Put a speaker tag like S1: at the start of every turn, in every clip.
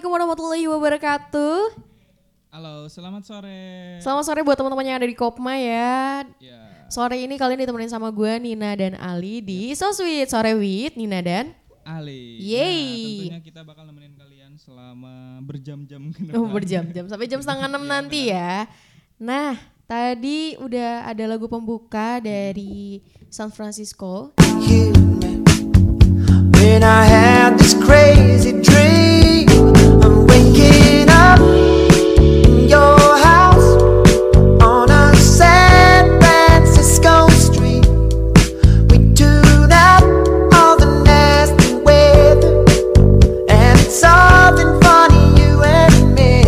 S1: Assalamualaikum warahmatullahi wabarakatuh.
S2: Halo, selamat sore.
S1: Selamat sore buat teman-teman yang ada di Kopma ya.
S2: Ya,
S1: Sore ini kalian ditemenin sama gue Nina dan Ali di So Sweet Sore with Nina dan
S2: Ali.
S1: Yeay.
S2: Nah, tentunya kita bakal nemenin kalian selama berjam-jam ke
S1: oh,
S2: depan.
S1: berjam-jam sampai jam setengah enam nanti ya. Nah tadi udah ada lagu pembuka dari San Francisco.
S3: you met when I had this crazy dream. I'm waking up in your house on a San Francisco street. We do that all the nasty weather, and it's something funny you and me.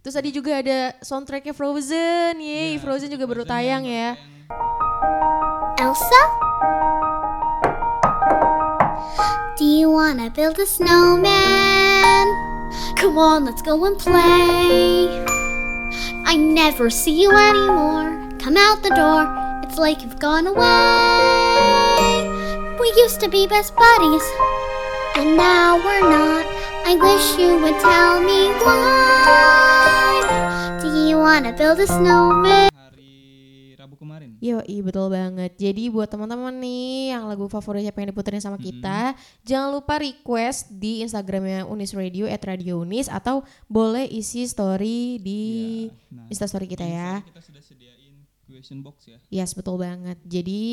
S1: Terus tadi juga ada soundtracknya Frozen. Yeay Iya, Frozen juga baru tayang ya.
S4: Elsa? Do you wanna build a snowman? Come on, let's go and play. I never see you anymore. Come out the door, it's like you've gone away. We used to be best buddies, and now we're not. I wish you would tell me why. Do you wanna build a snowman?
S2: Hari Rabu kemarin.
S1: Yo, betul banget. Jadi buat teman-teman nih yang lagu favoritnya pengen diputerin sama kita, jangan lupa request di Instagramnya Unis Radio @radiounis atau boleh isi story di
S2: Ya, nah,
S1: Instastory kita ya.
S2: Kita sudah sediain question box ya.
S1: Yes, betul banget. Jadi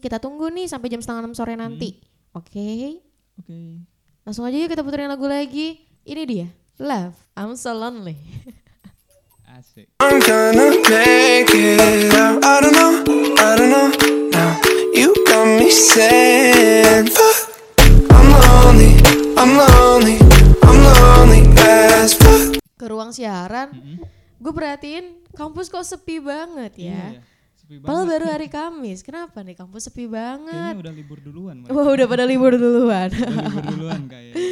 S1: kita tunggu nih sampai jam setengah enam sore nanti. Oke,
S2: Oke.
S1: langsung aja yuk kita puterin lagu lagi. Ini dia, Love, I'm So Lonely.
S2: Asik.
S3: I'm gonna make it out. I don't know, I don't know. Now you got me saying, fuck. I'm lonely, I'm lonely, I'm lonely as fuck.
S1: Ke ruang siaran, gue perhatiin kampus kok sepi banget ya.
S2: Iya, ya. Sepi
S1: Padahal
S2: banget.
S1: baru hari Kamis. Kenapa nih kampus sepi banget?
S2: Kayaknya udah libur duluan. mereka.
S1: Wah, udah pada libur duluan.
S2: Udah libur duluan kayak.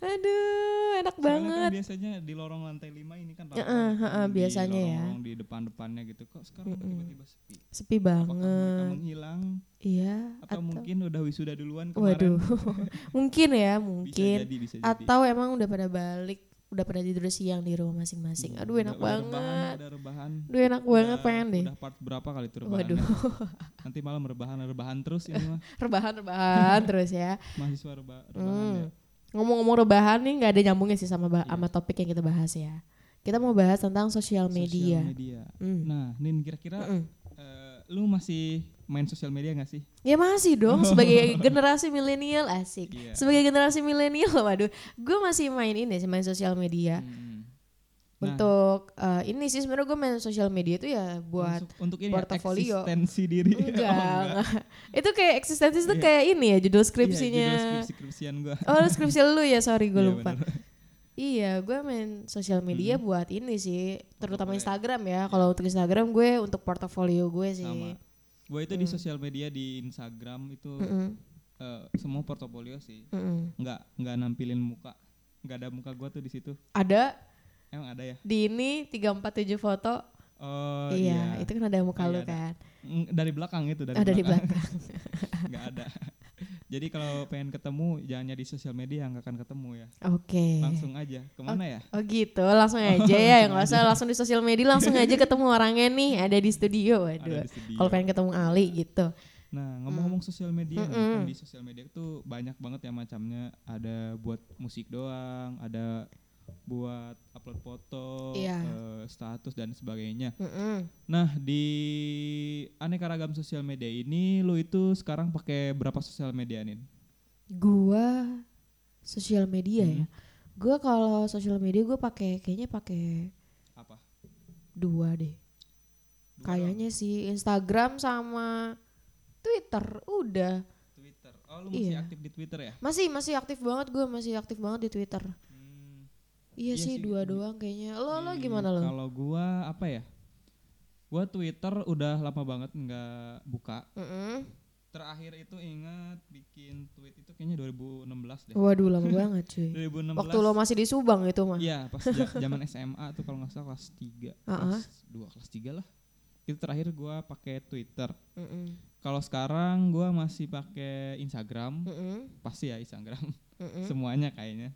S1: Aduh, enak
S2: Soalnya kan
S1: banget.
S2: biasanya di lorong lantai 5 ini kan ramai
S1: Heeh,
S2: kan,
S1: heeh,
S2: di
S1: biasanya ya.
S2: lorong-lorong di depan-depannya gitu. Kok sekarang tiba-tiba sepi?
S1: Sepi
S2: Apakah mereka
S1: banget.
S2: menghilang
S1: Iya,
S2: atau, mungkin udah wisuda duluan kemarin?
S1: waduh. mungkin ya,
S2: Bisa
S1: mungkin.
S2: jadi, bisa jadi.
S1: Atau emang udah pada balik, udah pada tidur siang di rumah masing-masing. Aduh, enak
S2: Hmm, Udah- udah rebahan,
S1: banget.
S2: Udah rebahan.
S1: Aduh, enak banget
S2: Udah-
S1: pengen deh.
S2: Udah part berapa kali tuh rebahan?
S1: Waduh,
S2: Nanti malam rebahan rebahan terus ini mah
S1: rebahan-rebahan terus ya.
S2: mahasiswa reba- rebahan ya.
S1: Hmm. Ngomong-ngomong rebahan nih nggak ada nyambungnya sih sama ba- sama topik yang kita bahas ya. Kita mau bahas tentang sosial media.
S2: Iya. Sosial media.
S1: Hmm.
S2: Nah, Nin kira-kira eh, lu masih main sosial media gak sih?
S1: Ya masih dong sebagai generasi milenial asik.
S2: Iya.
S1: Sebagai generasi milenial waduh, gue masih main ini sih main sosial media.
S2: Hmm.
S1: Untuk eh, ini sih sebenarnya gue main sosial media itu ya buat
S2: Untuk- untuk ini ya,
S1: portofolio.
S2: eksistensi diri. Oh,
S1: enggak. itu kayak eksistensi itu kayak ini ya judul skripsinya.
S2: Iya, skripsi skripsian gua.
S1: Oh, lu skripsi lu ya, sorry gue
S2: Iya,
S1: lupa.
S2: bener. Hmm.
S1: Iya, gue main sosial media buat ini sih, terutama Instagram ya. Kalau untuk Instagram gue untuk portofolio gue sih.
S2: Iya. Sama. Gua itu di
S1: Hmm.
S2: sosial media di Instagram itu
S1: Mm-mm,
S2: eh, semua portofolio sih.
S1: mm-mm.
S2: Nggak nggak nampilin muka. Nggak ada muka gua tuh di situ.
S1: Ada
S2: Emang ada ya?
S1: di ini 347 foto.
S2: Oh,
S1: iya, itu kan ada muka
S2: Iya,
S1: lu
S2: ada.
S1: kan.
S2: Mm, dari belakang itu dari
S1: ada di
S2: belakang.
S1: belakang.
S2: nggak ada jadi kalau pengen ketemu jangan nyari sosial media nggak akan ketemu ya
S1: Oke.
S2: langsung aja kemana
S1: Iya.
S2: ya
S1: Oh gitu, langsung aja ya, nggak usah langsung di sosial media, langsung aja ketemu orangnya nih, ada di studio, waduh.
S2: Ada di studio.
S1: Kalau pengen ketemu Ali gitu,
S2: nah ngomong-ngomong sosial media nih, kan
S1: Mm-mm.
S2: di sosial media tuh banyak banget ya macamnya ada buat musik doang ada buat upload foto
S1: Iya.
S2: eh, status dan sebagainya
S1: Mm-mm.
S2: nah di aneka ragam sosial media ini lu itu sekarang pakai berapa sosial media nih
S1: gua sosial media ya,
S2: Hmm.
S1: gua kalau sosial media gua pakai kayaknya pakai
S2: apa
S1: dua deh,
S2: Dua
S1: kayaknya sih Instagram sama Twitter, udah
S2: doang. Twitter oh lu masih
S1: Iya.
S2: aktif di Twitter ya
S1: masih masih aktif banget gua masih aktif banget di Twitter.
S2: Hmm.
S1: Iya,
S2: Iya
S1: sih
S2: sih, Iya,
S1: dua
S2: di-
S1: doang kayaknya. Lo lo
S2: Di-
S1: gimana lo?
S2: Kalau gua apa ya? Gua Twitter udah lama banget nggak buka.
S1: Mm-mm.
S2: Terakhir itu ingat bikin tweet itu kayaknya 2016 deh.
S1: Waduh lama banget cuy.
S2: 2016.
S1: Waktu lo masih di Subang itu mah.
S2: Iya, pas ja- zaman SMA tuh kalau nggak salah kelas 3, kelas 2, kelas 3 lah. Itu terakhir gua pakai Twitter.
S1: Mm-mm.
S2: Kalau sekarang gua masih pakai Instagram,
S1: Mm-mm.
S2: pasti ya Instagram.
S1: Mm-mm.
S2: semuanya kayaknya.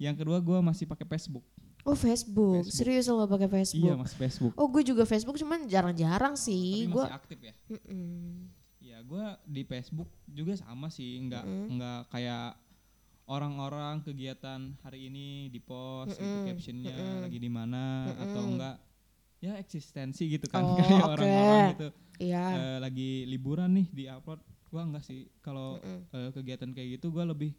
S2: Yang kedua gue masih pakai Facebook.
S1: Oh Facebook.
S2: Facebook.
S1: serius lo pakai
S2: Iya
S1: Facebook?
S2: masih Facebook.
S1: oh gue juga Facebook cuman jarang-jarang
S2: Tapi
S1: sih.
S2: masih
S1: Gue
S2: aktif ya. Ya gue di Facebook juga sama sih, nggak
S1: Mm-mm.
S2: nggak kayak orang-orang kegiatan hari ini di post gitu
S1: Mm-mm.
S2: captionnya
S1: Mm-mm.
S2: lagi di mana atau
S1: Mm-mm.
S2: enggak ya eksistensi gitu kan
S1: Oh,
S2: kayak
S1: oke.
S2: orang-orang gitu
S1: Iya.
S2: eh, lagi liburan nih di upload gua enggak sih kalau
S1: Mm-mm.
S2: eh, kegiatan kayak gitu gua lebih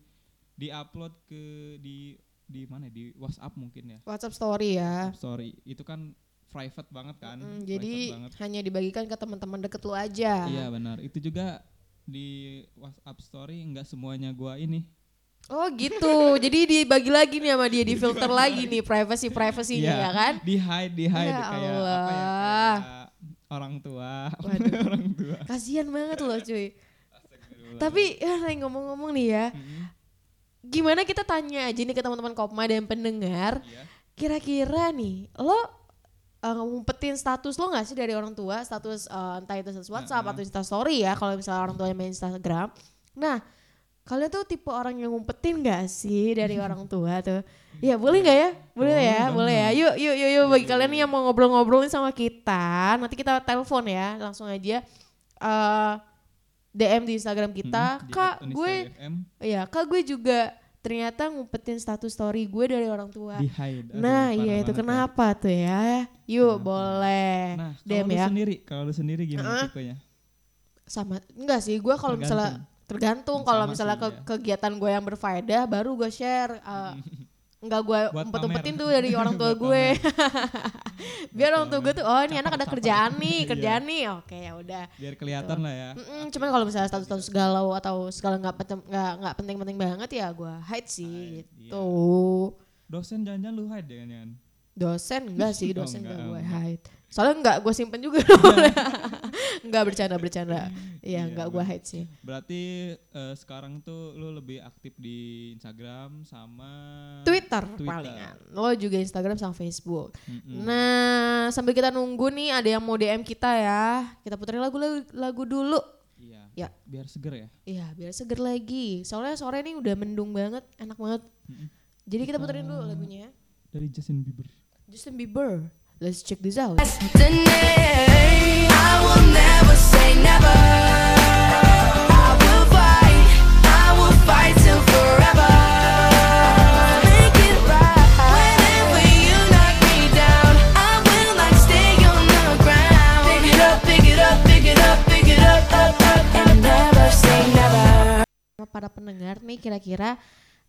S2: di upload ke di di mana di WhatsApp mungkin ya
S1: WhatsApp Story ya.
S2: story itu kan private banget kan
S1: Mm,
S2: private
S1: jadi
S2: banget.
S1: hanya dibagikan ke teman-teman deket lo aja.
S2: iya benar itu juga di WhatsApp story enggak semuanya gua ini
S1: Oh gitu. jadi dibagi lagi nih sama dia, di filter lagi nih privacy privasinya
S2: Iya,
S1: ya kan?
S2: di hide di hide
S1: Ya
S2: kayak apa ya
S1: Allah.
S2: kayak orang tua
S1: Waduh.
S2: orang tua
S1: Kasihan banget loh cuy. Tapi ya, Ray, ngomong-ngomong nih ya, gimana kita tanya aja nih ke teman-teman Kopma dan pendengar,
S2: Iya.
S1: kira-kira nih lo uh, ngumpetin status lo nggak sih dari orang tua, status uh, entah itu status WhatsApp
S2: Heeh.
S1: atau Instastory ya, kalau misalnya orang tuanya main Instagram. Nah, kalian tuh tipe orang yang ngumpetin gak sih dari orang tua tuh? Ya boleh nggak ya? Boleh
S2: Iya, Boleh Iya,
S1: ya,
S2: banget.
S1: boleh ya. Yuk, yuk, yuk, yuk. Bagi kalian nih yang mau ngobrol-ngobrolin sama kita, nanti kita telepon ya, langsung aja. eh DM di Instagram kita,
S2: Mm-mm, Hmm. Mm-hmm, di
S1: kak
S2: Unista
S1: gue
S2: FM,
S1: Iya, kak gue juga ternyata ngumpetin status story gue dari orang tua.
S2: di hide Aduh,
S1: nah,
S2: parah
S1: iya itu
S2: banget ya.
S1: kenapa tuh ya? Yuk, boleh.
S2: Nah,
S1: DM
S2: kalau lu
S1: ya.
S2: sendiri, kalau lu sendiri gimana
S1: Heeh.
S2: tipenya?
S1: Sama enggak sih gue kalau misalnya tergantung kalau
S2: Sama
S1: misalnya
S2: sih, iya.
S1: ke- kegiatan gue yang berfaedah baru gue share eh, Enggak gue
S2: Mm-hmm. Buat
S1: umpet-umpetin
S2: pamer.
S1: tuh dari orang tua
S2: Buat
S1: gue. Biar orang tua gue
S2: pamer.
S1: tuh oh ini anak ada
S2: Caper-caper.
S1: kerjaan nih,
S2: Iya.
S1: kerjaan nih. Oke, ya udah.
S2: Biar kelihatan lah ya.
S1: Mm-mm, cuman kalau misalnya status-status galau atau segala nggak pentem- nggak nggak penting-penting banget ya gue hide sih
S2: Hide, iya.
S1: gitu.
S2: Dosen jangan-jangan lu hide ya, kan? jangan jangan.
S1: Dosen enggak sih,
S2: Oh,
S1: dosen enggak,
S2: enggak,
S1: gue
S2: enggak.
S1: hide. Soalnya enggak gue simpen juga. enggak bercanda-bercanda. Iya,
S2: Iya,
S1: enggak gue hide sih.
S2: Berarti eh, sekarang tuh lu lebih aktif di Instagram sama
S1: Twitter,
S2: Twitter.
S1: palingan. Lo juga Instagram sama Facebook.
S2: Mm-mm.
S1: Nah, sambil kita nunggu nih ada yang mau DM kita ya. Kita puterin lagu lagu, lagu dulu.
S2: Iya.
S1: Ya.
S2: Biar seger ya.
S1: Iya, biar seger lagi. Soalnya sore ini udah mendung banget, enak banget.
S2: Mm-mm.
S1: Jadi kita puterin dulu lagunya ya.
S2: Dari Justin Bieber.
S1: Justin Bieber. Let's check this out.
S5: I will never say never. I will fight. I will fight till forever. Make it right. Whenever you knock me down, I will not stay on the ground. Pick it up, pick it up, pick it up, pick it up, up, up, and never say never.
S1: Sama para pendengar nih kira-kira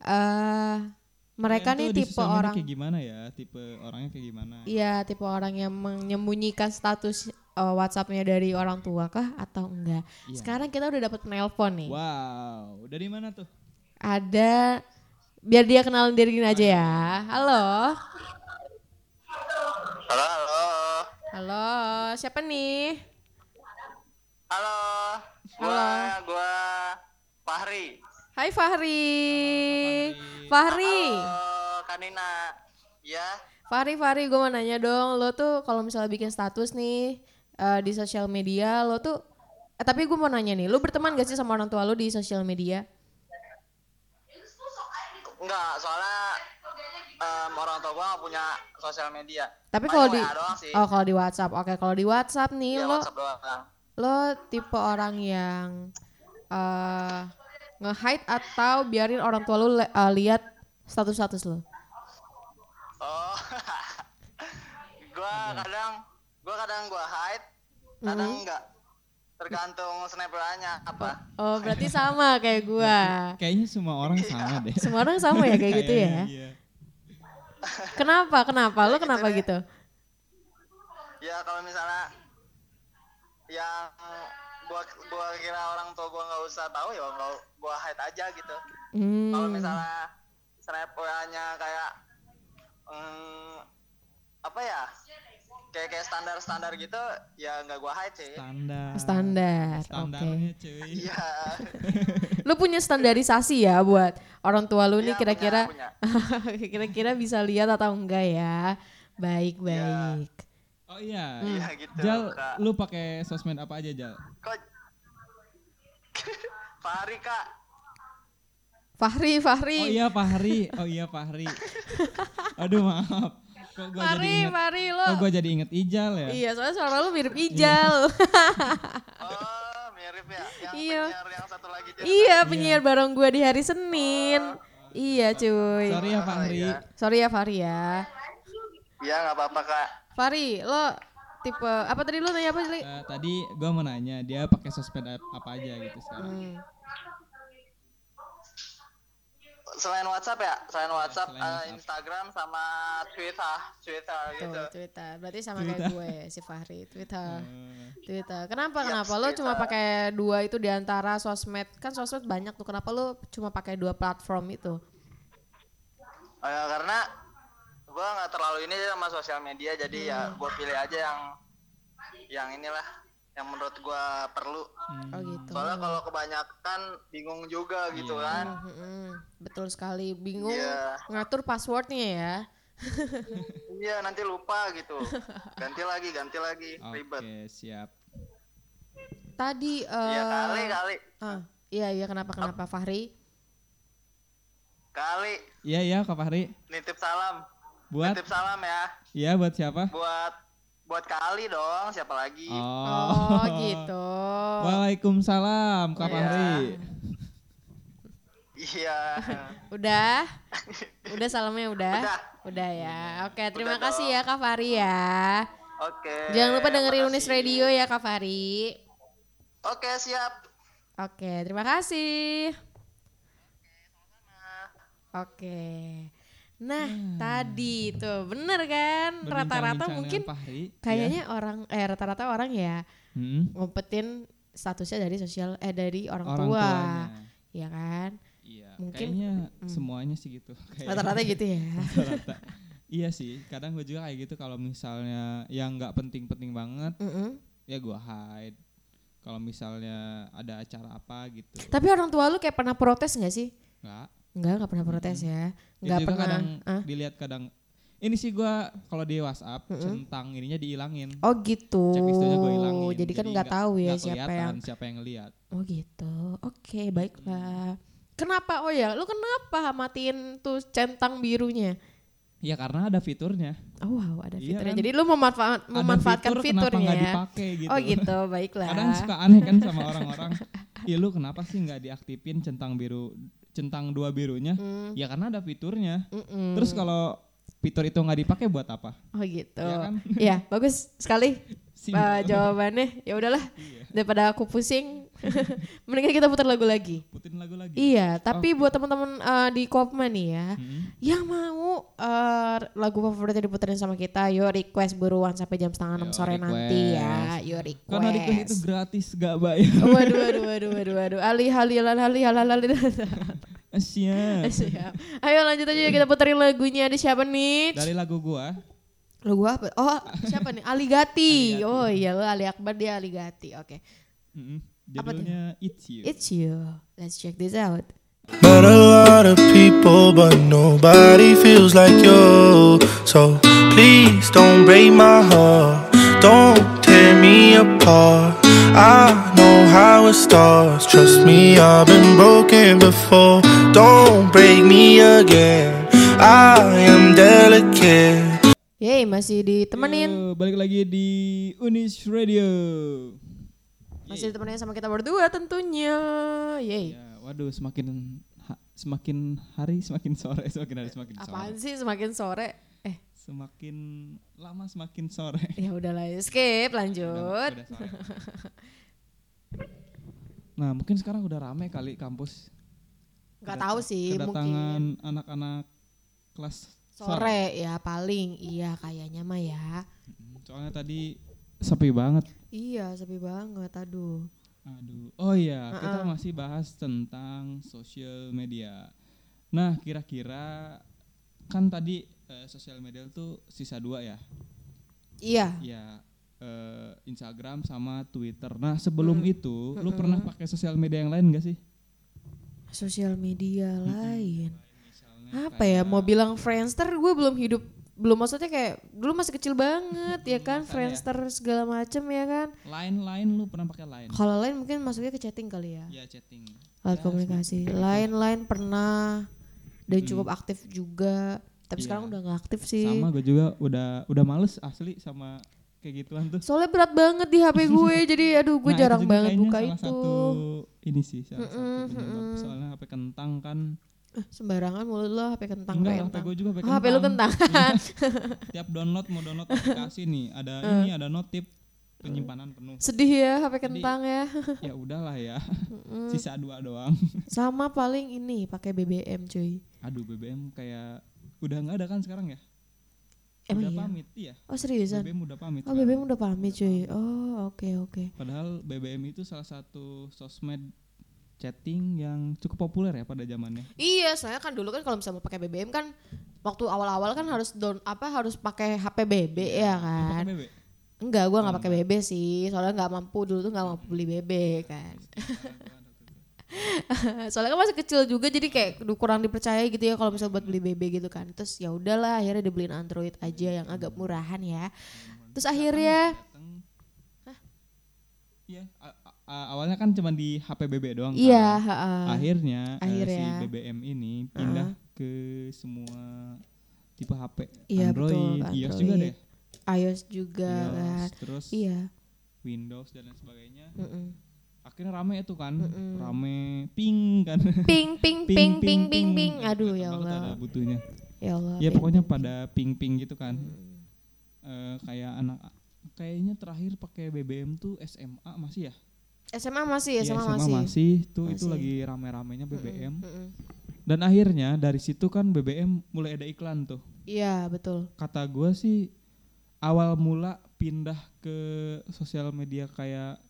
S1: eh mereka nih
S2: Kalian tuh di
S1: tipe
S2: sosial media
S1: orang
S2: kayak gimana ya? Tipe orangnya kayak gimana?
S1: Iya, tipe orang yang menyembunyikan status eh, WhatsApp-nya dari orang tua kah atau enggak.
S2: Iya.
S1: Sekarang kita udah dapat penelpon nih.
S2: Wow, dari mana tuh?
S1: Ada biar dia kenalin dirinya aja ya. Halo.
S6: Halo, halo.
S1: Halo, siapa nih?
S6: Halo. Gua, gua Fahri.
S1: Hai Fahri. Fahri.
S6: Halo, Kanina. Ya,
S1: Fahri, Fahri, gue mau nanya dong, lo tuh kalau misalnya bikin status nih eh, di sosial media, lo tuh, eh, tapi gue mau nanya nih, lo berteman gak sih sama orang tua lo di sosial media?
S6: enggak, soalnya em, orang tua gua nggak punya sosial media.
S1: Tapi
S6: Paling
S1: kalau di,
S6: WA doang sih.
S1: oh kalau di WhatsApp, oke, kalau di WhatsApp nih
S6: Iya,
S1: lo,
S6: WhatsApp doang.
S1: lo tipe orang yang eh nge-hide atau biarin orang tua lo le- eh, lihat status-status lo?
S6: Oh. gua kadang gua kadang gua hide, kadang enggak. Tergantung snapperannya apa.
S1: Oh berarti sama kayak gue.
S2: Kayaknya semua orang sama deh.
S1: Semua orang sama ya kayak gitu ya?
S2: Kayaknya, iya.
S1: Kenapa? Kenapa? Lo kenapa gitu?
S6: Ya kalau misalnya yang gua gua kira orang tua gua nggak usah tahu ya gua gua hide aja gitu. Kalau
S1: Hmm.
S6: misalnya snap WA-nya kayak mm, apa ya? Kayak kayak standar-standar gitu ya nggak gua hide sih.
S2: Standar.
S1: Standar, oke.
S2: Standarnya cuy.
S6: Iya.
S2: Hmm.
S1: Lu punya standarisasi ya buat orang tua lu nih
S6: Iya,
S1: kira-kira
S6: punya,
S1: kira-kira bisa lihat atau enggak ya? Baik, baik.
S2: Oh iya.
S6: Iya gitu.
S2: Jal,
S6: Kak.
S2: lu pakai sosmed apa aja Jal?
S6: Kok Fahri kak
S1: Fahri, Fahri.
S2: Oh iya Pak Hari, oh iya Pak Hari. Aduh maaf. Kok gua jadi
S1: Fahri,
S2: inget,
S1: Fahri lo.
S2: kok gua jadi inget Ijal ya?
S1: Iya, soalnya suara lu mirip Ijal.
S6: Oh, mirip ya. Yang
S1: Iya.
S6: penyiar yang satu lagi dia.
S1: iya, penyiar bareng gua di hari Senin. Iya, cuy.
S2: Sorry ya Pak Hari.
S1: Sorry ya Fahri ya.
S6: Iya, nggak apa-apa, Kak.
S1: Fahri, lo tipe apa tadi lo tanya apa sih? Li?
S2: Eh, tadi gua mau nanya dia pakai sosmed ap- apa aja gitu sekarang.
S1: Hmm.
S6: Selain WhatsApp ya, selain WhatsApp,
S2: Iya, selain
S6: eh,
S2: WhatsApp.
S6: Instagram sama Twitter, Twitter gitu.
S1: Hmm, Tuh, Twitter. Berarti sama kayak gue ya, si Fahri,
S6: Hmm.
S1: Twitter.
S2: Eh,
S1: Twitter. Gitu.
S6: Iya,
S1: Kenapa? Kenapa lo cuma
S6: eh,
S1: pakai dua itu di antara sosmed? Kan sosmed banyak tuh. Kenapa lo cuma pakai dua platform itu?
S6: Eh, karena gua nggak terlalu ini sama sosial media, jadi ya
S1: Hmm.
S6: gua pilih aja yang yang inilah yang menurut gua perlu.
S2: hmm.
S1: Oh gitu.
S6: Hmm, Soalnya kalau kebanyakan bingung juga gitu
S1: Iya.
S6: kan.
S1: Mm-mm. Betul sekali. Bingung
S6: Iya.
S1: ngatur passwordnya ya.
S6: Iya, nanti lupa gitu. Ganti lagi, ganti lagi,
S2: Oke,
S6: ribet.
S2: siap.
S1: Tadi
S6: Iya,
S1: eh,
S6: kali kali.
S1: ah, iya iya kenapa kenapa Fahri?
S6: Kali
S2: Iya iya Kak Fahri.
S6: nitip salam.
S2: Buat
S6: Nitip salam ya
S2: iya buat siapa?
S6: buat buat kali dong, siapa lagi?
S1: Oh, gitu. Hmm,
S2: Waalaikumsalam Kak
S6: Iya.
S2: Fahri.
S6: Iya.
S1: Udah? Udah salamnya udah?
S6: Udah.
S1: ya.
S6: Iya.
S1: Oke, terima
S6: Udah
S1: kasih
S6: dong.
S1: ya Kak Fahri ya.
S6: Oke.
S1: Jangan lupa dengerin Unis
S6: makasih.
S1: Radio ya Kak Fahri.
S6: Oke, siap.
S1: Oke, terima kasih. Oke. Nah, tadi tuh bener kan? Rata-rata
S2: Hmm. Berbincang-bincang dengan
S1: mungkin
S2: Pak Iya. Hari.
S1: kayaknya orang eh rata-rata orang ya
S2: Hmm,
S1: ngumpetin statusnya dari sosial eh dari orang,
S2: Orang
S1: tua.
S2: tuanya.
S1: Ya kan?
S2: Iya.
S1: Mungkin- Hmm.
S2: Kayaknya semuanya sih gitu. Kayaknya.
S1: Rata-rata gitu ya.
S2: Rata-rata. iya sih. Kadang gue juga kayak gitu kalau misalnya yang nggak penting-penting banget,
S1: Mm-mm.
S2: ya gue hide. Kalau misalnya ada acara apa gitu,
S1: Tapi orang tua lu kayak pernah protes nggak sih?
S2: nggak.
S1: Enggak, enggak pernah protes ya. Enggak
S2: Hmm. Itu juga
S1: pernah.
S2: kadang
S1: ah.
S2: dilihat kadang. Ini sih gue kalau di WhatsApp centang ininya dihilangin.
S1: Oh gitu.
S2: Checklistnya gue hilangin.
S1: Jadi kan nggak tahu ya
S2: nggak
S1: siapa
S2: kelihatan
S1: yang
S2: siapa yang lihat.
S1: Oh gitu. Oke,
S2: Iya.
S1: baiklah. Kenapa? Oh ya, lu kenapa matiin tuh centang birunya?
S2: Ya karena ada fiturnya.
S1: Oh wow, ada
S2: Iya
S1: fiturnya.
S2: kan?
S1: Jadi lu memanfa-
S2: Ada
S1: memanfaatkan
S2: fitur,
S1: fiturnya
S2: kenapa
S1: ya.
S2: nggak dipakai gitu.
S1: Oh gitu, baiklah.
S2: Kadang suka aneh kan sama orang-orang. Iya lu kenapa sih nggak diaktifin centang biru centang dua birunya?
S1: Mm,
S2: Ya karena ada fiturnya.
S1: Mm-mm.
S2: Terus kalau fitur itu nggak dipakai buat apa?
S1: mm, Oh gitu.
S2: Iya
S1: Iya,
S2: kan?
S1: bagus sekali.
S2: Simpel.
S1: eh, jawabannya ya udahlah
S2: Iya.
S1: daripada aku pusing mendingan kita putar lagu lagi
S2: Putin lagu lagi.
S1: Iya, tapi
S2: Oh.
S1: buat teman-teman eh, di Kopma nih ya,
S2: Mm-hmm.
S1: yang mau eh, lagu favoritnya diputerin sama kita, yo request buruan sampai jam setengah enam
S2: Yo,
S1: sore nanti ya, yo
S2: Karena request itu
S1: request.
S2: gratis gak bayar.
S1: Waduh, waduh, waduh, waduh, waduh, alih, alih, alih, alih, alih, alih, alih.
S2: Siap.
S1: Siap. Ayo lanjut aja ya, kita puterin lagunya ada siapa nih?
S2: Dari lagu gua,
S1: Lagu apa? Oh, siapa nih? Ali Gati. Oh iya, lo Ali Akbar dia Ali Gati. Oke,
S2: mm, judulnya It's You.
S1: it's you. Let's check this out.
S3: Met a lot of people, but nobody feels like you. So please don't break my heart. Don't tear me apart. I know how it starts. Trust me, I've been broken before. Don't break me again. I am delicate.
S1: Yey, masih ditemenin.
S2: Yo, Iya, balik lagi di Unis Radio.
S1: Masih ditemenin sama kita berdua tentunya. Yeay.
S2: Ya, waduh semakin ha- semakin hari semakin sore semakin hari semakin sore.
S1: Apaan sih semakin sore? Eh,
S2: Semakin lama semakin sore.
S1: ya udahlah, ya. skip lanjut.
S2: Udah sore. nah mungkin sekarang udah rame kali kampus
S1: Gak tahu sih, mungkin
S2: kedatangan anak-anak kelas sore.
S1: sore ya paling. Iya, kayaknya mah ya.
S2: Mm, soalnya tadi sepi banget
S1: Iya, sepi banget. Aduh.
S2: aduh oh iya kita masih bahas tentang sosial media nah kira-kira kan tadi eh, sosial media tuh sisa dua ya
S1: Iya.
S2: ya eh, Instagram sama Twitter nah sebelum itu lu pernah pakai sosial media yang lain gak sih
S1: Sosial media lain. Apa ya? Mau bilang Friendster gue belum hidup belum maksudnya kayak dulu masih kecil banget ya kan friendster segala macem ya kan
S2: Line line lu pernah pakai line?
S1: kalau lain mungkin masuknya ke chatting kali ya
S2: Ya chatting.
S1: alat komunikasi lain-lain pernah dan cukup aktif juga tapi
S2: Hmm. Iya.
S1: sekarang udah nggak aktif sih
S2: Sama gue juga udah udah males asli sama kayak gituan tuh.
S1: soalnya berat banget di HP gue jadi aduh gue
S2: Nah, itu
S1: jarang
S2: juga
S1: banget
S2: kayaknya
S1: buka
S2: salah
S1: itu
S2: Satu ini sih salah satu penyebab soalnya HP kentang kan.
S1: Eh, sembarangan mulu lo HP kentang
S2: Enggak,
S1: kayak
S2: HP
S1: kentang.
S2: gue juga HP
S1: Oh, HP lu kentang
S2: Tiap download mau download aplikasi nih, ada
S1: Eh.
S2: ini ada notif penyimpanan penuh.
S1: sedih ya HP kentang ya
S2: Ya udahlah ya. Sisa dua doang.
S1: sama paling ini pakai BBM cuy
S2: Aduh BBM kayak udah nggak ada kan sekarang ya?
S1: emang
S2: udah
S1: iya
S2: pamit iya.
S1: oh seriusan
S2: BBM udah pamit.
S1: oh
S2: sekarang.
S1: BBM udah pamit cuy oh oke oke
S2: Padahal BBM itu salah satu sosmed chatting yang cukup populer ya pada zamannya.
S1: Iya, saya kan dulu kan kalau misalnya mau pakai BBM kan waktu awal-awal kan harus down apa harus pakai HP BB ya
S2: Lu
S1: kan.
S2: Iya, pakai BB?
S1: Enggak, gua
S2: Oh,
S1: nggak pakai BB sih. Soalnya nggak mampu dulu tuh nggak mampu beli BB kan. Soalnya kan masih kecil juga jadi kayak aduh, kurang dipercaya gitu ya kalau misalnya buat beli BB gitu kan. Terus ya udahlah akhirnya dibeliin Android aja yang agak murahan ya. Terus akhirnya
S2: Dateng. Iya, a- a- a- awalnya kan cuma di HP BB doang. kan.
S1: iya, heeh.
S2: Akhirnya, eh,
S1: Akhirnya.
S2: si BBM ini
S1: Ah.
S2: pindah ke semua tipe HP
S1: Iya, betul,
S2: Android,
S1: ke
S2: iOS juga
S1: Android.
S2: deh.
S1: iOS juga kan.
S2: iOS, terus
S1: Iya. Mm.
S2: Windows dan lain sebagainya.
S1: mm-mm.
S2: Akhirnya rame itu kan, rame ping kan.
S1: Ping ping ping ping ping ping. Aduh ya
S2: Kelihatan banget
S1: Allah.
S2: Ada butuhnya.
S1: Ya Allah.
S2: Ya
S1: ping.
S2: pokoknya pada ping-ping gitu kan. Eh, kayak anak kayaknya terakhir pakai BBM tuh SMA masih ya?
S1: SMA masih,
S2: Iya,
S1: SMA,
S2: masih.
S1: masih.
S2: Tuh itu
S1: Masih.
S2: lagi rame-ramenya BBM.
S1: Mm-mm.
S2: Dan akhirnya dari situ kan BBM mulai ada iklan tuh.
S1: Iya, betul.
S2: Kata gua sih awal mula pindah ke sosial media kayak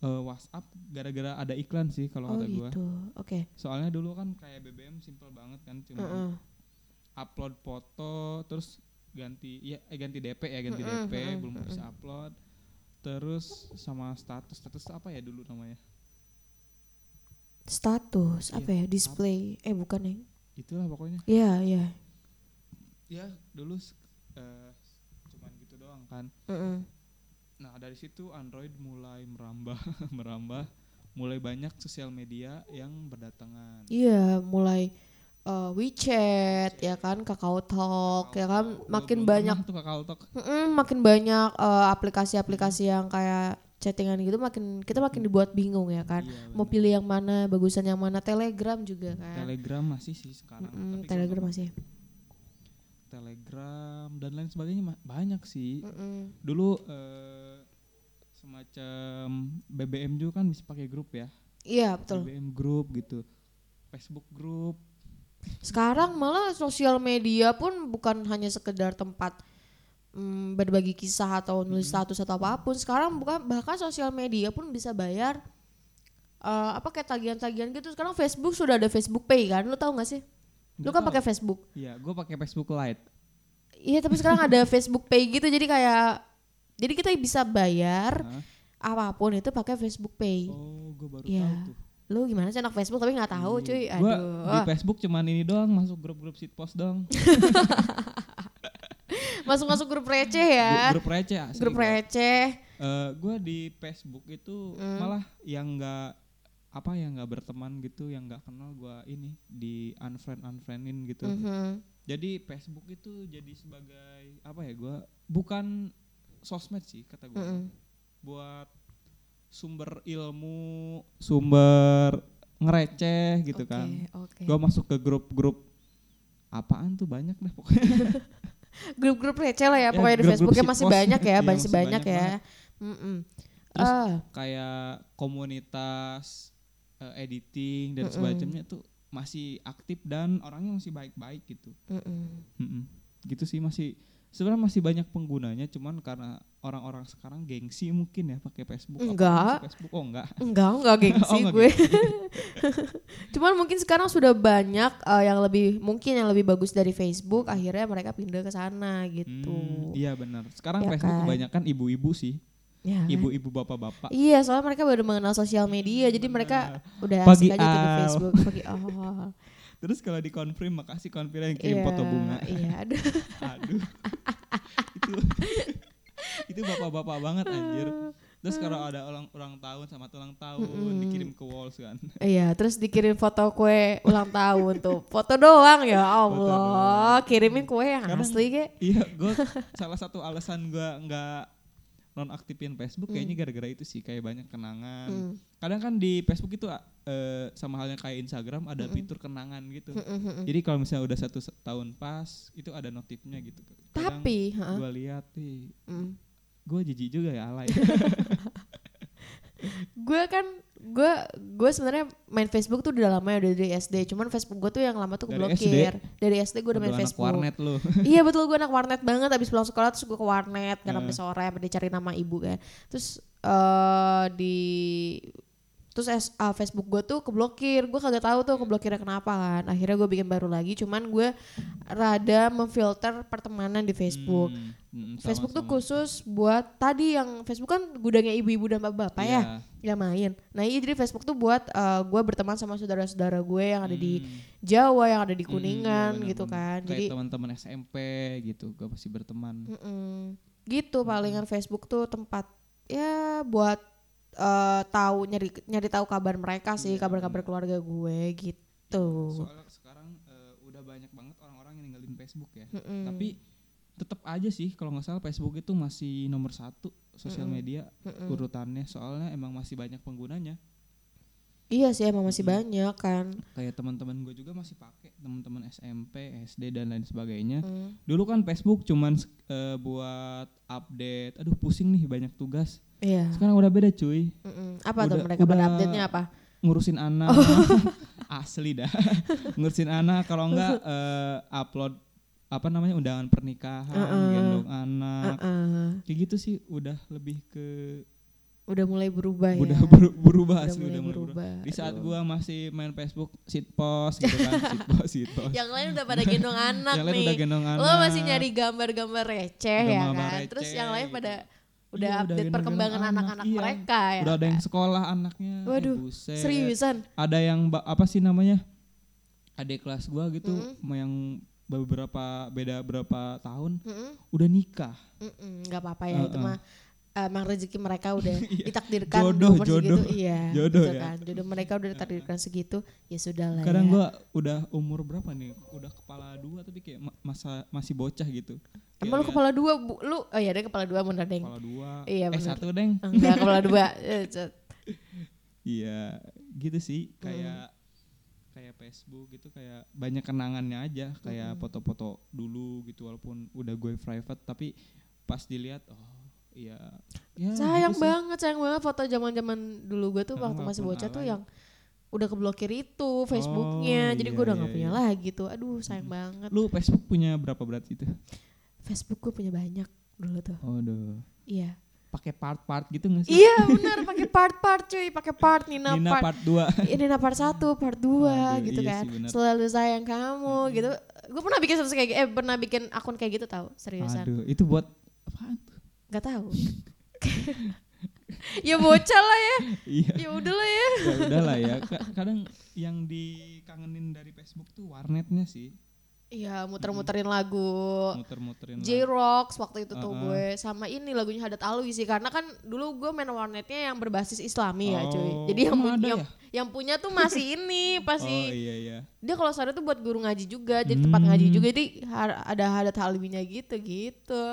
S2: eh, WhatsApp gara-gara ada iklan sih
S1: Oh,
S2: kalau kata gua.
S1: gitu. Oke.
S2: Soalnya dulu kan kayak BBM simple banget kan cuma
S1: Heeh.
S2: upload foto terus ganti ya eh, ganti DP ya ganti
S1: Mm-mm,
S2: DP
S1: mm-mm,
S2: belum bisa upload terus sama status status apa ya dulu namanya
S1: Status apa
S2: Iya,
S1: ya? Display. Eh, bukan ya.
S2: itulah pokoknya
S1: Iya, iya.
S2: ya dulu s- eh, cuman gitu doang kan
S1: Heeh.
S2: nah dari situ Android mulai merambah merambah mulai banyak sosial media yang berdatangan
S1: Iya, mulai eh, WeChat ya kan, Kakao Talk ya kan,
S2: Gua
S1: makin
S2: belum
S1: banyak
S2: pernah tuh Kakao Talk.
S1: Mm-mm, makin banyak eh, aplikasi-aplikasi yang kayak chattingan gitu makin kita makin dibuat bingung ya kan.
S2: Iya,
S1: Mau pilih yang mana, bagusan yang mana, Telegram juga kan.
S2: Telegram masih sih
S1: Mm,
S2: sekarang tapi kalau
S1: Telegram masih.
S2: Telegram dan lain sebagainya ma- banyak sih
S1: Mm-mm.
S2: dulu eh, semacam BBM juga kan bisa pakai grup ya
S1: Iya, betul.
S2: BBM grup gitu Facebook grup
S1: Sekarang malah sosial media pun bukan hanya sekedar tempat mm, berbagi kisah atau nulis
S2: Hmm.
S1: status atau apapun. Sekarang bukan bahkan sosial media pun bisa bayar eh, apa kayak tagihan-tagihan gitu. Sekarang Facebook sudah ada Facebook Pay kan? Lu tahu nggak sih? Lu
S2: Nggak
S1: kan
S2: tahu.
S1: pakai Facebook.
S2: ya gue pakai Facebook Lite
S1: Iya, tapi sekarang ada Facebook Pay gitu. Jadi kayak jadi kita bisa bayar
S2: Hah?
S1: apapun itu pakai Facebook Pay.
S2: Nah. oh gue baru
S1: Iya.
S2: tahu tuh
S1: Lu gimana sih anak Facebook tapi nggak tahu, cuy.
S2: gue di
S1: Aduh.
S2: Facebook cuman ini doang masuk grup-grup shitpost doang
S1: Masuk-masuk grup receh ya.
S2: grup receh asli
S1: grup
S2: gua.
S1: receh. Hmm.
S2: Eh, gue di Facebook itu malah yang nggak apa yang nggak berteman gitu yang nggak kenal gue ini di unfriend unfriendin gitu
S1: Mhm.
S2: Jadi Facebook itu jadi sebagai apa ya gua bukan sosmed sih kata gua.
S1: Mm-hmm. Mhm.
S2: Buat sumber ilmu, sumber ngereceh gitu kan.
S1: Oke, oke.
S2: Gua masuk ke grup-grup apaan tuh banyak deh pokoknya.
S1: Grup-grup receh lah ya,
S2: Ya,
S1: pokoknya di
S2: grup-grup
S1: Facebooknya
S2: shitpost.
S1: masih banyak ya,
S2: Iya,
S1: masih
S2: masih
S1: banyak
S2: banyak
S1: ya. Mm-mm.
S2: Terus
S1: Ah,
S2: kayak komunitas eh, editing dan sebagainya tuh masih aktif dan orangnya masih baik-baik gitu.
S1: mm-mm.
S2: Mm-mm. Gitu sih masih sebenarnya masih banyak penggunanya cuman karena orang-orang sekarang gengsi mungkin ya pakai Facebook. Apa
S1: Enggak.
S2: masih Facebook oh enggak.
S1: Enggak, enggak gengsi
S2: Oh, enggak
S1: gue. Cuman mungkin sekarang sudah banyak eh, yang lebih mungkin yang lebih bagus dari Facebook, akhirnya mereka pindah ke sana gitu.
S2: Hmm, iya benar. Sekarang
S1: Ya
S2: Facebook
S1: kan?
S2: kebanyakan ibu-ibu sih.
S1: Ya kan?
S2: Ibu-ibu bapak-bapak.
S1: Iya, soalnya mereka baru mengenal sosial media, jadi mereka udah
S2: Pagi
S1: asik
S2: ah.
S1: aja tuh di
S2: al.
S1: Facebook pagi. Oh.
S2: Terus kalau dikonfirm makasih konfirm yang kirim foto bunga.
S1: Iya, aduh.
S2: Aduh. itu itu bapak-bapak banget anjir.
S1: Ah.
S2: Terus
S1: Hmm.
S2: kalau ada orang ulang tahun sama ulang tahun dikirim ke walls kan.
S1: Iya, terus dikirim foto kue ulang tahun tuh. Foto doang ya Allah. Kirimin kue yang
S2: Kadang-
S1: asli kek.
S2: Iya, gue salah satu alasan gue nggak nonaktifin Facebook
S1: Hmm.
S2: kayaknya gara-gara itu sih kayak banyak kenangan. Kadang kan di Facebook itu eh, sama halnya kayak Instagram ada
S1: Hmm.
S2: fitur kenangan gitu. Jadi kalau misalnya udah satu se- tahun pas itu ada notifnya gitu. Kadang
S1: Tapi, ah. ha?
S2: gue lihat nih,
S1: Mm.
S2: gue jijik juga ya alay.
S1: gue kan gue gue sebenarnya main Facebook tuh udah lama ya udah dari SD cuman Facebook gue tuh yang lama tuh
S2: Dari
S1: keblokir dari SD gue udah main
S2: Anak
S1: Facebook
S2: warnet lu.
S1: iya betul gue anak warnet banget abis pulang sekolah terus gue ke warnet kan sampai
S2: Hmm.
S1: sore sampai dicari nama ibu kan terus eh di terus es- ah, Facebook gue tuh keblokir gue kagak tahu tuh keblokirnya kenapa kan akhirnya gue bikin baru lagi cuman gue rada memfilter pertemanan di Facebook
S2: Hmm, mm, sama-
S1: Facebook tuh
S2: sama.
S1: khusus buat tadi yang Facebook kan gudangnya ibu-ibu dan bapak-bapak
S2: Iya.
S1: ya, yang main. Nah iya jadi Facebook tuh buat gue berteman sama saudara-saudara gue yang ada di Jawa, yang ada di
S2: Mm, mm, Hmm. iya,
S1: Kuningan
S2: benar-benar.
S1: gitu kan.
S2: Kayak
S1: Jadi
S2: teman-teman SMP gitu, gue pasti berteman.
S1: Mm-mm. gitu palingan Facebook tuh tempat ya buat eh, tahu nyari nyari tahu kabar mereka sih,
S2: Iya,
S1: kabar-kabar keluarga gue gitu.
S2: soalnya sekarang eh, udah banyak banget orang-orang yang ninggalin Facebook ya tapi tetap aja sih kalau nggak salah Facebook itu masih nomor satu sosial media urutannya soalnya emang masih banyak penggunanya
S1: Iya sih emang masih banyak kan.
S2: kayak teman-teman gue juga masih pakai teman-teman SMP SD dan lain sebagainya dulu kan Facebook cuman eh, buat update aduh pusing nih banyak tugas
S1: Iya.
S2: sekarang udah beda cuy
S1: Mm-mm. Apa tuh
S2: Udah-
S1: mereka pada
S2: udah-
S1: update-nya apa?
S2: ngurusin
S1: Oh.
S2: anak asli dah ngurusin anak kalau enggak eh, upload apa namanya undangan pernikahan gendong anak
S1: Eh,
S2: kayak gitu sih udah lebih ke
S1: udah mulai berubah
S2: udah
S1: ya.
S2: beru- berubah
S1: Udah
S2: asli
S1: mulai
S2: udah mulai
S1: berubah,
S2: berubah di saat
S1: aduh.
S2: gua masih main Facebook sit post gitu kan sit post sit post
S1: Yang lain udah pada gendong Ya, anak
S2: Yang lain
S1: nih.
S2: udah gendong
S1: Lo
S2: anak.
S1: masih nyari gambar-gambar receh ya
S2: Gambar-gambar
S1: kan. Terus
S2: receh
S1: yang lain
S2: gitu.
S1: pada
S2: Iya,
S1: udah update
S2: gendong-gendong
S1: perkembangan anak-anak
S2: iya.
S1: mereka ya.
S2: udah ada yang
S1: kan?
S2: sekolah anaknya eh,
S1: Waduh,
S2: buset.
S1: seriusan.
S2: ada yang ba- apa sih namanya adik kelas gua gitu yang beberapa beda berapa tahun
S1: Mm-mm,
S2: udah nikah
S1: mm-mm, nggak apa-apa ya itu
S2: Uh-uh.
S1: mah emang rezeki mereka udah
S2: Iya.
S1: ditakdirkan di
S2: Jodoh,
S1: umur
S2: jodoh.
S1: segitu iya
S2: Jodoh
S1: gitu
S2: ya.
S1: kan jodoh mereka udah ditakdirkan segitu ya sudah lah
S2: Kadang
S1: ya.
S2: gua udah umur berapa nih? Udah kepala dua tapi kayak ma- masa masih bocah gitu. Kayak
S1: emang lu
S2: liat
S1: kepala dua bu, lu oh iya ada kepala dua bener deng
S2: kepala dua.
S1: Iya,
S2: eh
S1: bener.
S2: satu deng.
S1: enggak kepala dua Eh, cet.
S2: Iya, gitu sih
S1: Hmm.
S2: kayak kayak Facebook gitu kayak banyak kenangannya aja kayak
S1: Hmm.
S2: foto-foto dulu gitu walaupun udah gue private tapi pas dilihat oh iya ya,
S1: sayang
S2: gitu sih.
S1: banget sayang banget foto zaman zaman dulu gue tuh
S2: Karena
S1: waktu masih
S2: walaupun
S1: bocah tuh
S2: alay.
S1: yang udah keblokir itu Facebooknya jadi gue
S2: iya,
S1: udah nggak
S2: iya,
S1: punya
S2: iya.
S1: lagi tuh aduh sayang banget
S2: Lu Facebook punya berapa berat itu?
S1: Facebook gue punya banyak dulu tuh
S2: Aduh.
S1: iya
S2: Pakai part-part gitu gak sih?
S1: iya benar pakai part-part cuy pakai part Nina,
S2: Nina
S1: part,
S2: part 2.
S1: ini part 1, part 2
S2: Aduh,
S1: gitu
S2: iya
S1: kan.
S2: sih, benar.
S1: Selalu sayang kamu gitu. Gue pernah bikin status kayak gi- eh pernah bikin akun kayak gitu tahu, seriusan.
S2: Aduh, itu buat apaan tuh?
S1: Gak tahu. ya bocah lah ya.
S2: Iya.
S1: Ya udahlah ya.
S2: ya udahlah ya Ka- kadang yang dikangenin dari Facebook tuh warnetnya sih
S1: Iya, muter-muterin lagu.
S2: muter-muterin lagu.
S1: J-Rox waktu itu tuh
S2: Uh-uh.
S1: gue sama ini lagunya Hadat Alwi sih karena kan dulu gue main warnetnya yang berbasis Islami ya cuy.
S2: Oh,
S1: Jadi yang punya
S2: emang ada
S1: yang,
S2: ya?
S1: yang punya tuh masih ini
S2: oh
S1: pasti
S2: iya iya
S1: dia kalau sore tuh buat guru ngaji juga jadi tempat
S2: Hmm.
S1: ngaji juga jadi har- ada Hadat Alwinya gitu gitu.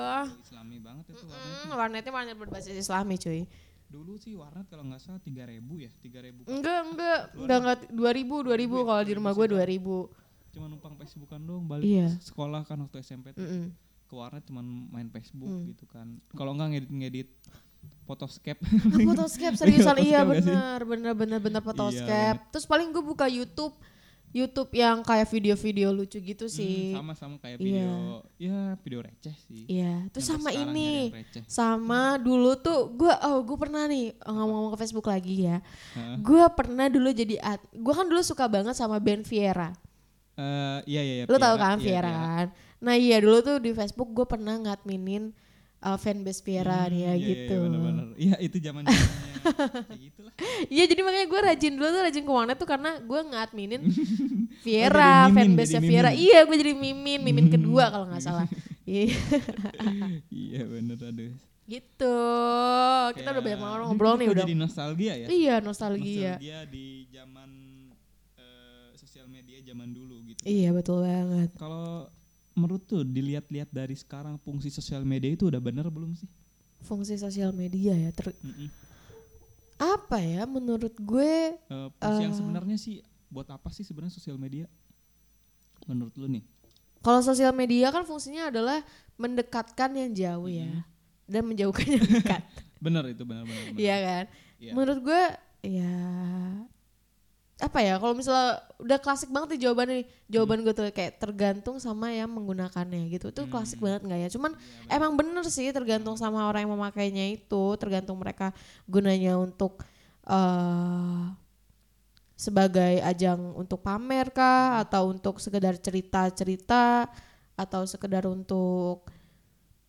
S2: islami banget itu warnet.
S1: Hmm, warnetnya warnet berbasis Islami cuy.
S2: dulu sih warnet kalau nggak salah 3000 ya 3000
S1: Enggak, enggak, enggak, enggak, 2000, 2000 kalau di rumah gue 2000.
S2: cuma numpang Facebookan doang balik
S1: Iya. Mm.
S2: sekolah kan waktu SMP tuh
S1: Mm-mm.
S2: ke warnet cuma main Facebook
S1: Mm.
S2: gitu kan kalau nggak ngedit-ngedit photoscape
S1: Ah, Photoscape seriusan
S2: Photoscape
S1: iya
S2: nggak sih? Iya.
S1: bener, bener, bener, bener Photoscape. Terus paling gue buka YouTube, YouTube yang kayak video-video lucu gitu sih.
S2: Hmm, sama sama kayak
S1: Iya.
S2: video ya video receh sih
S1: Iya, terus
S2: Sampai
S1: sama
S2: sekarang
S1: ini,
S2: nyari yang gitu. receh.
S1: sama dulu tuh gue, oh gue pernah nih ngomong-ngomong ke Facebook lagi ya.
S2: Heeh.
S1: Gue pernah dulu jadi, ad- gue kan dulu suka banget sama band Viera.
S2: Eh, iya iya iya
S1: Lu tahu
S2: Viera,
S1: kan
S2: iya,
S1: Viera
S2: Viera.
S1: kan? Nah iya dulu tuh di Facebook gue pernah ngadminin uh, fanbase Viera nih ya
S2: Iya, iya,
S1: gitu.
S2: Iya benar-benar. Iya itu zaman zamannya kayak gitulah
S1: Iya jadi makanya gue rajin dulu tuh rajin ke warnet tuh karena gue nge-adminin
S2: Oh,
S1: Viera,
S2: jadi mimin, Hmm.
S1: fanbase-nya
S2: jadi
S1: Viera.
S2: mimin.
S1: Iya gue jadi mimin, mimin kedua kalau nggak salah. Iya
S2: iya bener aduh
S1: gitu. Kita udah banyak
S2: Kayak-
S1: banget
S2: aduh,
S1: ngobrol
S2: ini
S1: nih
S2: kok
S1: udah.
S2: jadi nostalgia ya
S1: Iya nostalgia.
S2: nostalgia di zaman eh, sosial media zaman dulu gitu
S1: Iya betul banget.
S2: kalau menurut tuh dilihat-lihat dari sekarang fungsi sosial media itu udah bener belum sih
S1: Fungsi sosial media ya. Ter
S2: Mm-mm.
S1: apa ya menurut gue
S2: Eh, fungsi yang
S1: Eh.
S2: sebenarnya sih buat apa sih sebenarnya sosial media menurut lu nih
S1: kalau sosial media kan fungsinya adalah mendekatkan yang jauh ya dan menjauhkan yang dekat.
S2: bener itu benar-benar
S1: Iya kan?
S2: Iya.
S1: Menurut gue ya apa ya kalau misalnya udah klasik banget nih jawabannya nih. jawaban gue tuh kayak tergantung sama yang menggunakannya gitu itu klasik banget nggak ya cuman emang bener sih tergantung sama orang yang memakainya itu tergantung mereka gunanya untuk eh sebagai ajang untuk pamer
S2: Hmm.
S1: kah atau untuk sekedar cerita cerita atau sekedar untuk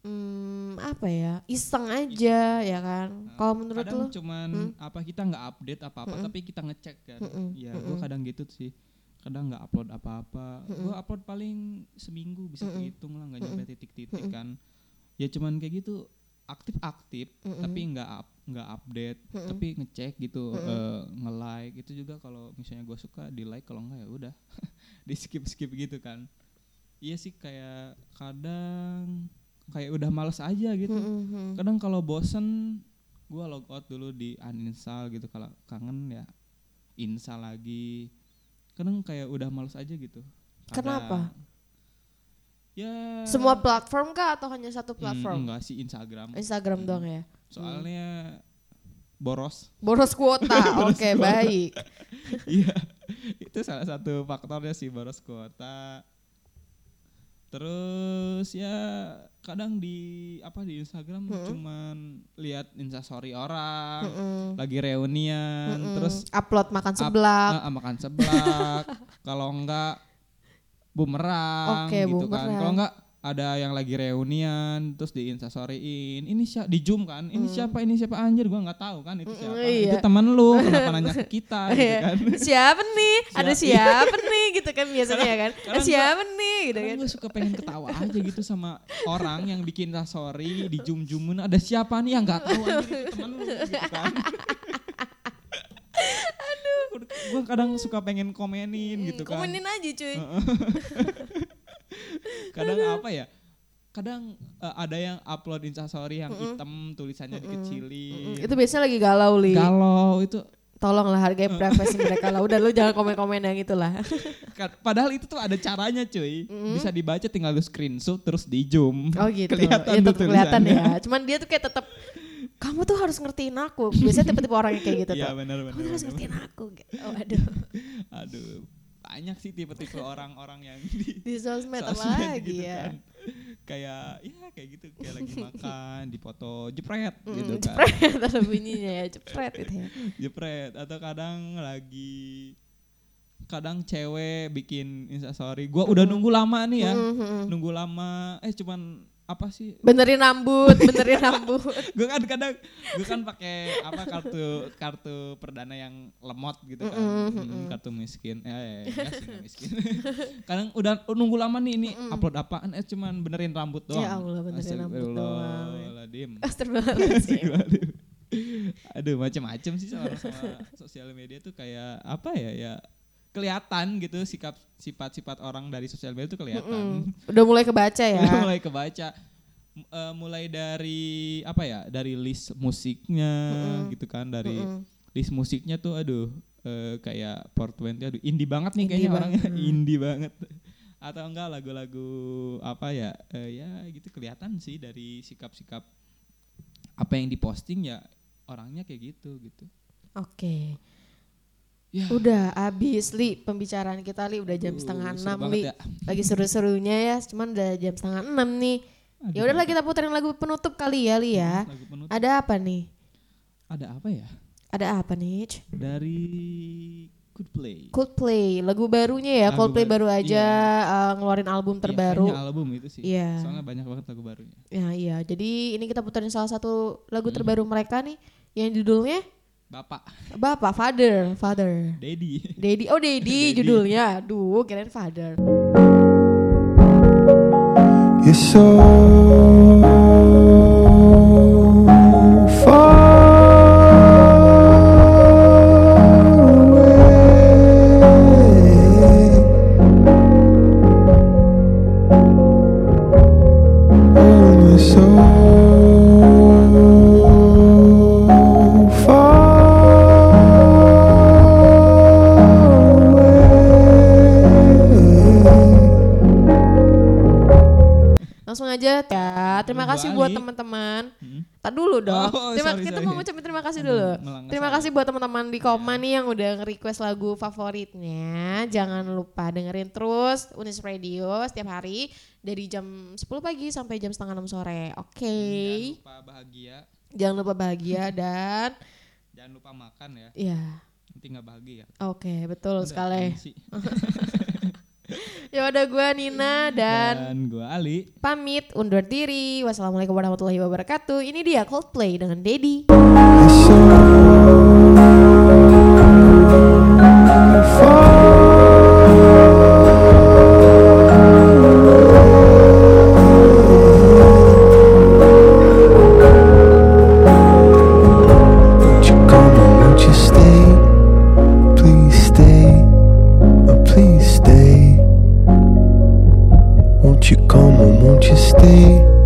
S1: hmm, apa ya iseng aja ya kan kalau menurut
S2: Hmm. kadang
S1: lu
S2: cuman apa kita nggak update apa-apa tapi kita ngecek kan ya gue kadang gitu sih kadang nggak upload apa-apa gue upload paling seminggu bisa dihitung lah nggak nyampe titik-titik kan ya cuman kayak gitu aktif-aktif tapi nggak up- nggak update tapi ngecek gitu eh, nge-like itu juga kalau misalnya gue suka di like kalau nggak ya udah di skip skip gitu kan iya sih kayak kadang kayak udah males aja gitu
S1: Hmm,
S2: kadang kalau bosen gue log out dulu di uninstall gitu kalau kangen ya install lagi kadang kayak udah males aja gitu
S1: Kenapa?
S2: ya
S1: semua platform kah atau hanya satu
S2: mm,
S1: platform
S2: enggak Hmm. sih Instagram
S1: Instagram doang ya
S2: soalnya boros
S1: boros kuota oke baik
S2: iya itu salah satu faktornya sih boros kuota terus ya kadang di apa di Instagram
S1: Hmm.
S2: cuman lihat instastory orang lagi reunian Nah, terus
S1: upload makan
S2: up-
S1: seblak
S2: ah, ah, makan seblak kalau enggak bumerang
S1: Oke,
S2: gitu kan
S1: bumerang.
S2: kalau enggak ada yang lagi reunian terus di instastoryin ini siapa di zoom kan ini siapa ini siapa anjir gua nggak tahu kan itu
S1: Mm,
S2: siapa
S1: iya.
S2: itu teman lu kenapa nanya ke kita gitu
S1: Iya.
S2: kan
S1: siapa nih ada siapa nih gitu kan biasanya ya kan
S2: kadang
S1: ada siapa nih gitu kan
S2: Kadang gue suka pengen ketawa aja gitu sama orang yang bikin sorry di zoom zoomin ada siapa nih yang nggak tahu anjir itu temen lu gitu kan. Aduh. Gue kadang suka pengen komenin gitu
S1: Hmm,
S2: kan.
S1: komenin aja cuy
S2: Kadang apa ya? Kadang eh, ada yang upload instastory yang hitam tulisannya dikecilin.
S1: itu biasanya lagi galau li
S2: Kalau itu
S1: tolonglah hargai privasi mereka lah udah lu jangan komen-komen yang itulah
S2: Ka- kan, Padahal itu tuh ada caranya cuy Bisa dibaca tinggal lu screenshot terus di zoom
S1: Oh gitu.
S2: Kelihatan
S1: ya,
S2: tuh
S1: tetap kelihatan
S2: tulisannya.
S1: ya. Cuman dia tuh kayak tetap kamu tuh harus ngertiin aku. Biasanya tipe-tipe orang yang kayak gitu
S2: Iya
S1: tuh.
S2: benar benar.
S1: Kamu harus
S2: benar.
S1: ngertiin aku. gitu. Oh, aduh.
S2: Aduh, banyak sih tipe-tipe orang-orang yang di
S1: Di sosmed apa
S2: sosmed
S1: lagi
S2: gitu
S1: ya.
S2: kan. Kayak ya kayak gitu, kayak lagi makan, dipoto jepret gitu kan. Jepret.
S1: Jepret ada bunyinya ya, jepret gitu ya.
S2: atau kadang lagi kadang cewek bikin instastory. Gua udah nunggu lama nih ya.
S1: Hmm,
S2: Nunggu lama eh cuman apa sih
S1: Benerin rambut, benerin rambut.
S2: gue kan kadang gue kan pakai apa kartu kartu perdana yang lemot gitu kan Hmm, kartu miskin eh eh, enggak sih, enggak miskin kadang udah oh, nunggu lama nih ini upload apaan eh cuman benerin rambut doang
S1: Ya Allah, benerin rambut doang. eh.
S2: Astagfirullahaladzim.
S1: Astagfirullahaladzim.
S2: Astagfirullahaladzim. aduh macam-macam sih sama, sama sosial media tuh kayak apa ya ya kelihatan gitu sikap sifat-sifat orang dari sosial media tuh kelihatan
S1: Udah mulai kebaca ya.
S2: Udah mulai kebaca M- eh, mulai dari apa ya dari list musiknya gitu kan dari list musiknya tuh aduh eh, kayak 420 aduh indie banget nih kayaknya orangnya
S1: Mm.
S2: indie banget atau enggak lagu-lagu apa ya eh, ya gitu kelihatan sih dari sikap-sikap apa yang diposting ya orangnya kayak gitu gitu
S1: Oke.
S2: Ya.
S1: Udah abis Li pembicaraan kita Li udah jam setengah
S2: seru
S1: enam
S2: banget
S1: Li.
S2: ya.
S1: Lagi seru-serunya ya, cuman udah jam setengah enam nih. Ya udahlah kita puterin lagu penutup kali ya Li ya.
S2: lagu penutup
S1: Ada apa nih?
S2: ada apa ya
S1: Ada apa nih? Ch?
S2: dari Good Play
S1: Coldplay, lagu barunya ya.
S2: Lagu
S1: Coldplay
S2: baru,
S1: baru aja uh, ngeluarin album
S2: Iya, kayaknya
S1: terbaru.
S2: album itu sih
S1: Iya.
S2: soalnya banyak banget lagu barunya Hmm.
S1: Ya iya. Jadi ini kita puterin salah satu lagu terbaru mereka nih yang judulnya
S2: Bapak,
S1: Bapak, father, father.
S2: Daddy.
S1: Dedi, oh Dedi
S2: Dedi.
S1: judulnya. Duh, kirain father.
S3: You're so far away. Oh, you're so far away.
S1: Langsung aja ya. Terima kasih buat
S2: Balik.
S1: teman-teman.
S2: Mm-mm.
S1: Tak dulu dong.
S2: Hmm. Oh,
S1: terima,
S2: sorry,
S1: kita
S2: sorry.
S1: mau ngucapin terima kasih
S2: Aduh,
S1: dulu.
S2: melanggar Ya.
S1: Terima
S2: saya.
S1: kasih buat teman-teman di Koma nih yang udah request lagu favoritnya. Jangan lupa dengerin terus Unis Radio setiap hari dari jam 10 pagi sampai jam setengah 6 sore. Oke.
S2: Jangan lupa bahagia,
S1: Jangan lupa bahagia dan
S2: jangan lupa makan ya.
S1: ya.
S2: Nanti nggak bahagia.
S1: Oke, betul
S2: Udah,
S1: sekali.
S2: apaan sih?
S1: Ya udah gua Nina dan
S2: Dan gue Ali.
S1: pamit undur diri. Wassalamualaikum warahmatullahi wabarakatuh. Ini dia Coldplay dengan Dedi.
S3: Won't you come or won't you stay? Please stay, oh please stay. Won't you come or won't you stay?